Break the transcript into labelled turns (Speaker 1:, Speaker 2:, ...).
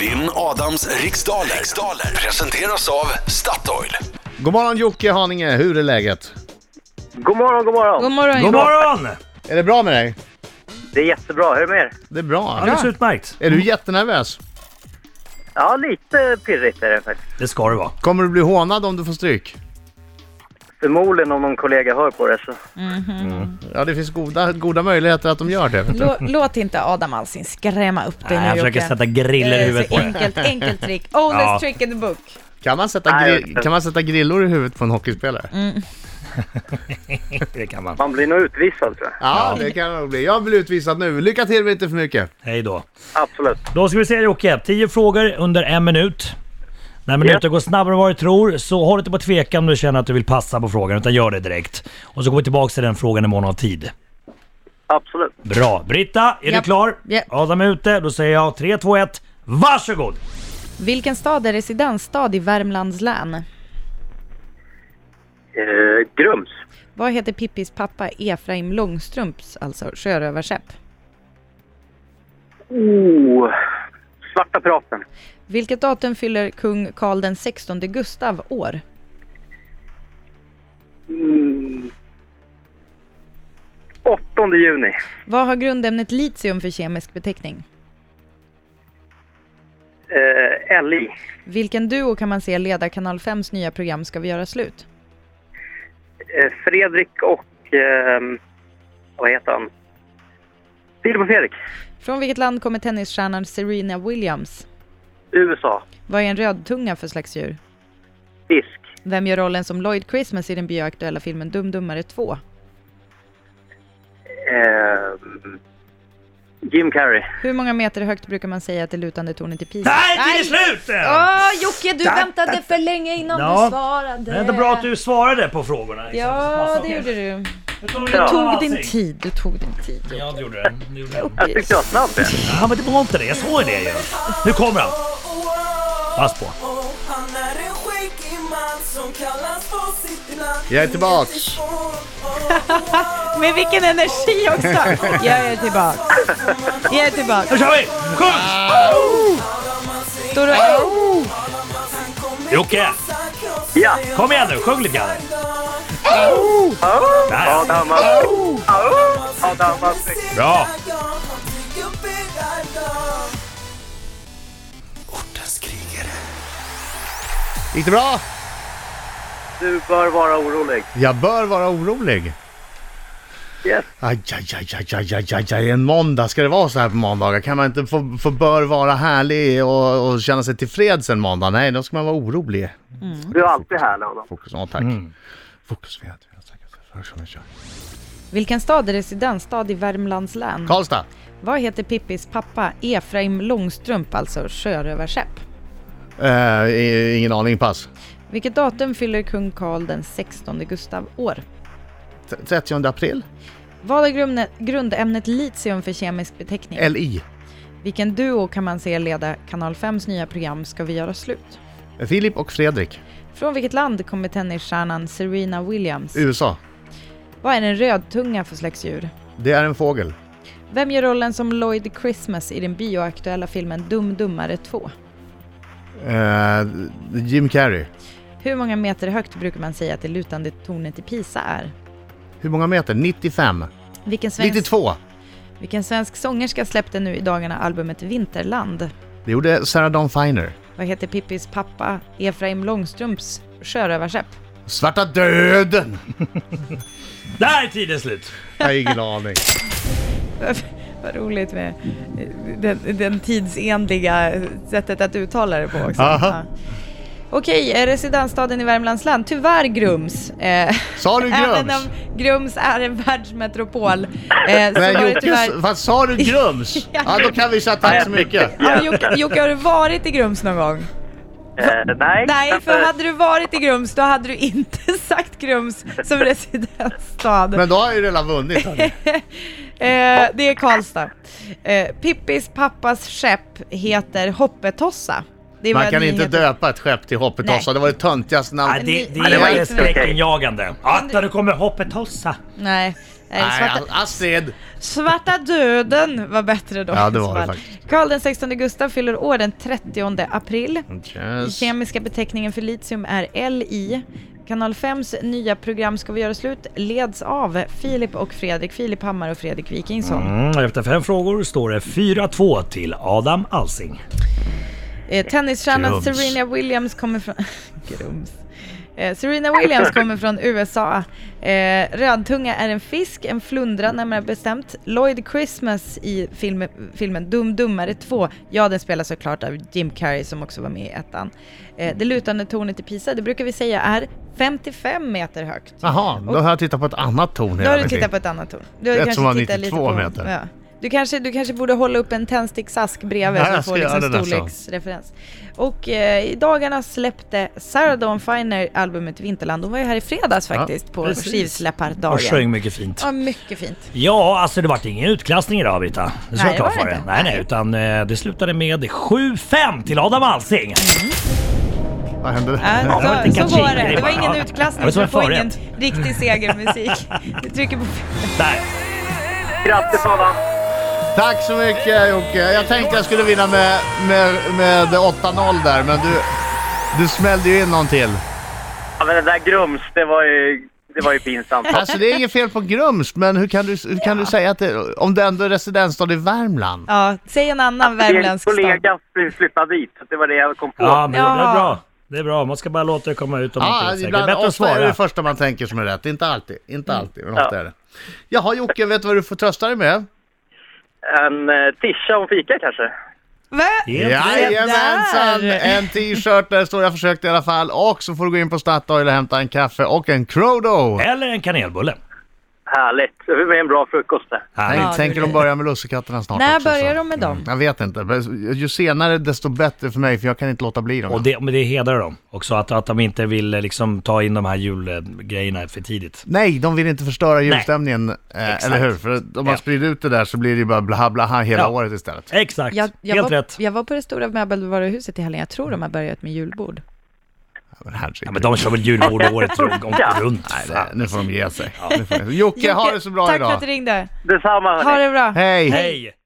Speaker 1: Vinn Adams riksdaler. riksdaler presenteras av Statoil.
Speaker 2: God morgon Jocke Haninge, hur är läget?
Speaker 3: God morgon, god morgon.
Speaker 4: God morgon
Speaker 5: God
Speaker 4: Ingmar.
Speaker 5: morgon!
Speaker 2: Är det bra med dig?
Speaker 3: Det är jättebå. Hur är det med er?
Speaker 2: Det är bra.
Speaker 5: Alldeles utmärkt.
Speaker 2: Är du jättenervös?
Speaker 3: Ja, lite pirrigt är det faktiskt.
Speaker 5: Det ska det vara.
Speaker 2: Kommer du bli hånad om du får stryk?
Speaker 3: Förmodligen om någon kollega hör på det så.
Speaker 2: Ja, det finns goda, goda möjligheter att de gör det. vet du.
Speaker 4: Lå, låt inte Adam Alsing skrämma upp dig
Speaker 5: Nej,
Speaker 4: nu
Speaker 5: jag försöker
Speaker 4: Jocke. Eh,
Speaker 5: sätta griller i
Speaker 4: Det är
Speaker 5: huvudet
Speaker 4: så
Speaker 5: på dig.
Speaker 4: enkelt, enkelt trick. Oldest
Speaker 5: Ja.
Speaker 4: trick in the book.
Speaker 2: Kan man, sätta
Speaker 3: Nej,
Speaker 2: gri-
Speaker 3: jag-
Speaker 2: kan man sätta grillor i huvudet på en hockeyspelare?
Speaker 5: Det kan man.
Speaker 3: Man blir nog utvisad tror jag.
Speaker 2: Ja, det kan det nog bli. Jag blir utvisad nu. Lycka till men inte för mycket.
Speaker 5: Hej då.
Speaker 3: Absolut.
Speaker 5: Då ska vi se Jocke. 10 frågor under en minut. När minuten går snabbare än vad du tror, så håll inte på att tveka om du känner att du vill passa på frågan, utan gör det direkt. Och så går vi tillbaka till den frågan i mån av tid.
Speaker 3: Absolut.
Speaker 5: Bra. Britta, är du
Speaker 4: Japp.
Speaker 5: klar?
Speaker 4: Japp.
Speaker 5: Adam är ute. Då säger jag 3, 2, 1. Varsågod!
Speaker 4: Vilken stad är residensstad i Värmlands län?
Speaker 3: Eh, grums.
Speaker 4: Vad heter Pippis pappa Efraim Långstrumps, alltså sjörövarskepp?
Speaker 3: Oh. Svarta piraten.
Speaker 4: Vilket datum fyller kung Karl den 16 Gustav år?
Speaker 3: Mm. 8 juni.
Speaker 4: Vad har grundämnet litium för kemisk beteckning?
Speaker 3: Eh, LI.
Speaker 4: Vilken duo kan man se leda Kanal 5s nya program Ska vi göra slut?
Speaker 3: Eh, Fredrik och... ehm, vad heter han? Filip och Fredrik.
Speaker 4: Från vilket land kommer tennisstjärnan Serena Williams?
Speaker 3: USA.
Speaker 4: Vad är en rödtunga för slags djur?
Speaker 3: Fisk.
Speaker 4: Vem gör rollen som Lloyd Christmas i den bioaktuella filmen Dum Dummare 2?
Speaker 3: Ehm, Jim Carrey.
Speaker 4: Hur många meter högt brukar man säga att det lutande tornet i Pisa?
Speaker 5: Nej, det är slut!
Speaker 4: Åh, Jocke, du väntade för länge innan
Speaker 5: Ja.
Speaker 4: du svarade.
Speaker 5: Det är ändå bra att du svarade på frågorna. liksom.
Speaker 4: Ja,
Speaker 5: Passa
Speaker 4: det
Speaker 5: på.
Speaker 4: gjorde du.
Speaker 5: Du tog,
Speaker 4: Du tog din tid, du tog din tid. Jocke.
Speaker 5: Ja, det gjorde det. det gjorde det.
Speaker 3: Jag tyckte jag var snabb. jag.
Speaker 5: Ja, men det var inte det. Jag såg det ju. Nu kommer han. Pass på.
Speaker 6: Han är en skäggig man som kallas på sitt namn
Speaker 2: Jag är tillbaks.
Speaker 4: Med vilken energi också! Jag är tillbaka. Jag är tillbaka.
Speaker 5: Nu kör vi! Sjung!
Speaker 4: Står du...
Speaker 5: Jocke,
Speaker 3: Ja.
Speaker 5: kom igen nu. Sjung lite grann. Där, ja.
Speaker 3: Adam Alsing. Adam Alsing.
Speaker 5: Bra.
Speaker 1: Ortens krigare.
Speaker 2: Gick det bra?
Speaker 3: Du bör vara orolig.
Speaker 2: Jag bör vara orolig.
Speaker 3: Yes.
Speaker 2: Aj, aj, aj, aj, aj, aj, aj, aj. En måndag, ska det vara så här på måndagar? Kan man inte få, få bör vara härlig och, och känna sig tillfreds en måndag? Nej, då ska man vara orolig.
Speaker 3: Du är alltid här, Adam.
Speaker 2: Fokus, ja tack. Fokus, vi har- vi har säkert- för som vi kör.
Speaker 4: Vilken stad är residensstad i Värmlands län?
Speaker 2: Karlstad,
Speaker 4: Vad heter Pippis pappa Efraim Långstrump, alltså sjörövarskepp?
Speaker 2: Eh, i- ingen aning, pass.
Speaker 4: Vilket datum fyller kung Karl den 16 Gustav år?
Speaker 2: T- 30 april,
Speaker 4: Vad är grundä- grundämnet litium för kemisk beteckning?
Speaker 2: LI.
Speaker 4: Vilken duo kan man se leda Kanal 5s nya program Ska vi göra slut?
Speaker 2: Filip och Fredrik,
Speaker 4: Från vilket land kommer tennisstjärnan Serena Williams?
Speaker 2: USA.
Speaker 4: Vad är en rödtunga för slags djur?
Speaker 2: Det är en fågel.
Speaker 4: Vem gör rollen som Lloyd Christmas i den bioaktuella filmen Dum Dummare 2?
Speaker 2: Eh, Jim Carrey.
Speaker 4: Hur många meter högt brukar man säga att det lutande tornet i Pisa är?
Speaker 2: Hur många meter? 95?
Speaker 4: Vilken svensk,
Speaker 2: 92?
Speaker 4: vilken svensk sångerska släppte nu i dagarna albumet Vinterland?
Speaker 2: Det gjorde Sarah Dawn Finer.
Speaker 4: Vad heter Pippis pappa Efraim Långstrumps sjörövarskepp?
Speaker 2: Svarta döden!
Speaker 5: Där är tiden slut.
Speaker 2: Jag har ingen aning.
Speaker 4: Vad roligt med den, den tidsenliga sättet att uttala det på också.
Speaker 2: Aha.
Speaker 4: Ja. Okej, eh, residensstaden i Värmlands län, tyvärr Grums. Eh,
Speaker 2: Sa du
Speaker 4: Även
Speaker 2: Grums?
Speaker 4: om Grums är en världsmetropol eh, så var
Speaker 2: Nej
Speaker 4: det tyvärr...
Speaker 2: Jocke, vad sa du Grums? Ja då kan vi säga tack så mycket.
Speaker 4: Ja, Jocke, Jocke, har du varit i Grums någon gång?
Speaker 3: Eh, nej.
Speaker 4: Nej, för hade du varit i Grums då hade du inte sagt Grums som residensstad.
Speaker 2: Men då har jag ju redan vunnit. hörni.
Speaker 4: Eh, det är Karlstad. Eh, Pippis pappas skepp heter Hoppetossa. Det är
Speaker 2: Man
Speaker 4: vad
Speaker 2: kan
Speaker 4: ni
Speaker 2: inte
Speaker 4: heter.
Speaker 2: döpa ett skepp till Hoppetossa,
Speaker 4: Nej.
Speaker 2: det var det töntigaste
Speaker 5: Ja,
Speaker 2: namnet.
Speaker 5: det,
Speaker 4: Ja,
Speaker 5: det
Speaker 4: det var
Speaker 5: är
Speaker 3: inte okej.
Speaker 5: skräckinjagande. Atta, nu kommer hoppet tossa.
Speaker 4: Nej, Nej, svarta,
Speaker 2: Nej, Astrid!
Speaker 4: svarta döden var bättre då.
Speaker 2: Ja, det var det
Speaker 4: Svart.
Speaker 2: faktiskt.
Speaker 4: Karl den 16 Gustav fyller år den 30 april.
Speaker 2: Mm.
Speaker 4: Den
Speaker 2: Yes.
Speaker 4: kemiska beteckningen för litium är LI. Kanal 5s nya program Ska vi göra slut leds av Filip och Fredrik, Filip Hammar och Fredrik Wikingsson.
Speaker 5: Mm, efter fem frågor står det 4-2 till Adam Alsing.
Speaker 4: Eh, Tennisstjärnan
Speaker 2: Grums.
Speaker 4: Serena Williams kommer från... Grums. Eh, Serena Williams kommer från USA. Eh, rödtunga är en fisk, en flundra närmare bestämt. Lloyd Christmas i film, filmen Dum Dummare 2, ja den spelas såklart av Jim Carrey som också var med i ettan. Eh, det lutande tornet i Pisa, det brukar vi säga är 55 meter högt.
Speaker 2: Jaha, då har jag tittat på ett annat torn
Speaker 4: Då
Speaker 2: hela
Speaker 4: har du
Speaker 2: mitt liv.
Speaker 4: tittat på ett annat torn. Du har
Speaker 2: Ett
Speaker 4: kanske
Speaker 2: som var
Speaker 4: tittat
Speaker 2: 92 meter.
Speaker 4: Ja. Du, kanske, du kanske borde hålla upp en tändsticksask bredvid
Speaker 2: Ja,
Speaker 4: så
Speaker 2: jag
Speaker 4: du får
Speaker 2: ska göra
Speaker 4: liksom
Speaker 2: det nästa gång.
Speaker 4: storleksreferens. Och eh, i dagarna släppte Sarah Dawn Finer albumet Vinterland. Hon var ju här i fredags faktiskt på
Speaker 5: precis. Och
Speaker 4: skivsläppardagen.
Speaker 5: sjöng mycket fint.
Speaker 4: Ja, mycket fint.
Speaker 5: Ja, alltså det vart ingen utklassning idag Brita. Det ska
Speaker 4: Nej,
Speaker 5: jag klart
Speaker 4: det var
Speaker 5: för
Speaker 4: det
Speaker 5: dig.
Speaker 4: inte.
Speaker 5: Nej, nej, utan eh, det slutade med 7-5 till Adam Alsing.
Speaker 2: Vad hände
Speaker 4: Ja,
Speaker 2: där?
Speaker 5: var
Speaker 4: så,
Speaker 5: lite
Speaker 4: så var det.
Speaker 5: kaching.
Speaker 4: Det var ingen
Speaker 5: Ja. Det
Speaker 4: utklassning. så
Speaker 5: var som
Speaker 4: Du
Speaker 5: en
Speaker 4: får ingen
Speaker 5: förrätt.
Speaker 4: riktig segermusik. Du trycker på...
Speaker 5: Där.
Speaker 3: Grattis Adam!
Speaker 2: Tack så mycket Jocke. Jag tänkte jag skulle vinna med, med, med 8-0 där, men du, du smällde ju in någon till.
Speaker 3: Ja, men det där Grums, det var ju, det var ju pinsamt.
Speaker 2: Alltså det är inget fel på Grums, men hur kan du, hur kan du säga att det, om det ändå är residensstad i Värmland?
Speaker 4: Ja, säg en annan
Speaker 3: Min
Speaker 4: värmländsk stad.
Speaker 3: kollega flyttade dit, så det var det jag kom på.
Speaker 5: Ja, men det är
Speaker 4: Ja.
Speaker 5: bra. Det är bra, man ska bara låta det komma ut om man inte
Speaker 2: Ja,
Speaker 5: är säker. Det är
Speaker 2: ibland,
Speaker 5: bättre att
Speaker 2: ofta är det
Speaker 5: svara.
Speaker 2: det första man tänker som är rätt. Inte alltid, inte alltid, men ofta
Speaker 3: Ja.
Speaker 2: är det. Jaha Jocke, vet du vad du får trösta dig med?
Speaker 3: En eh, tischa och fika kanske?
Speaker 4: Va?
Speaker 5: Helt rätt.
Speaker 2: Jajamensan!
Speaker 4: där.
Speaker 2: En t-shirt, där står jag försökt i alla fall. Och så får du gå in på Statoil och hämta en kaffe och en Crodo!
Speaker 5: Eller en kanelbulle.
Speaker 3: Härligt! Det blir en bra frukost där.
Speaker 2: Nej,
Speaker 4: Ja,
Speaker 2: tänker
Speaker 4: det-
Speaker 2: de börja med lussekatterna snart
Speaker 4: När
Speaker 2: också,
Speaker 4: börjar
Speaker 2: så. Mm.
Speaker 4: de med dem?
Speaker 2: Jag vet inte. Men Ju senare desto bättre för mig för jag kan inte låta bli dem.
Speaker 5: Och det, men det hedrar dem också, att, att de inte vill eh, liksom, ta in de här julgrejerna för tidigt.
Speaker 2: Nej, de vill inte förstöra julstämningen, eh, eller hur? För att om man
Speaker 5: Ja.
Speaker 2: sprider ut det där så blir det ju bara blaha blaha hela
Speaker 5: Ja.
Speaker 2: året istället.
Speaker 5: Exakt,
Speaker 4: Jag, jag, var,
Speaker 5: helt rätt.
Speaker 4: jag var på det stora möbelvaruhuset i helgen. Jag tror de har börjat med julbord.
Speaker 2: Men herregud.
Speaker 5: Ja, men de kör väl julbord året runt. Om, runt.
Speaker 2: Nej, det, nu får de ge sig. Nu får de- Jocke, ha det så bra
Speaker 4: tack
Speaker 2: idag.
Speaker 4: för att du ringde.
Speaker 3: Detsamma
Speaker 4: Ha
Speaker 3: hörni!
Speaker 4: det bra.
Speaker 2: Hej!
Speaker 5: Hej!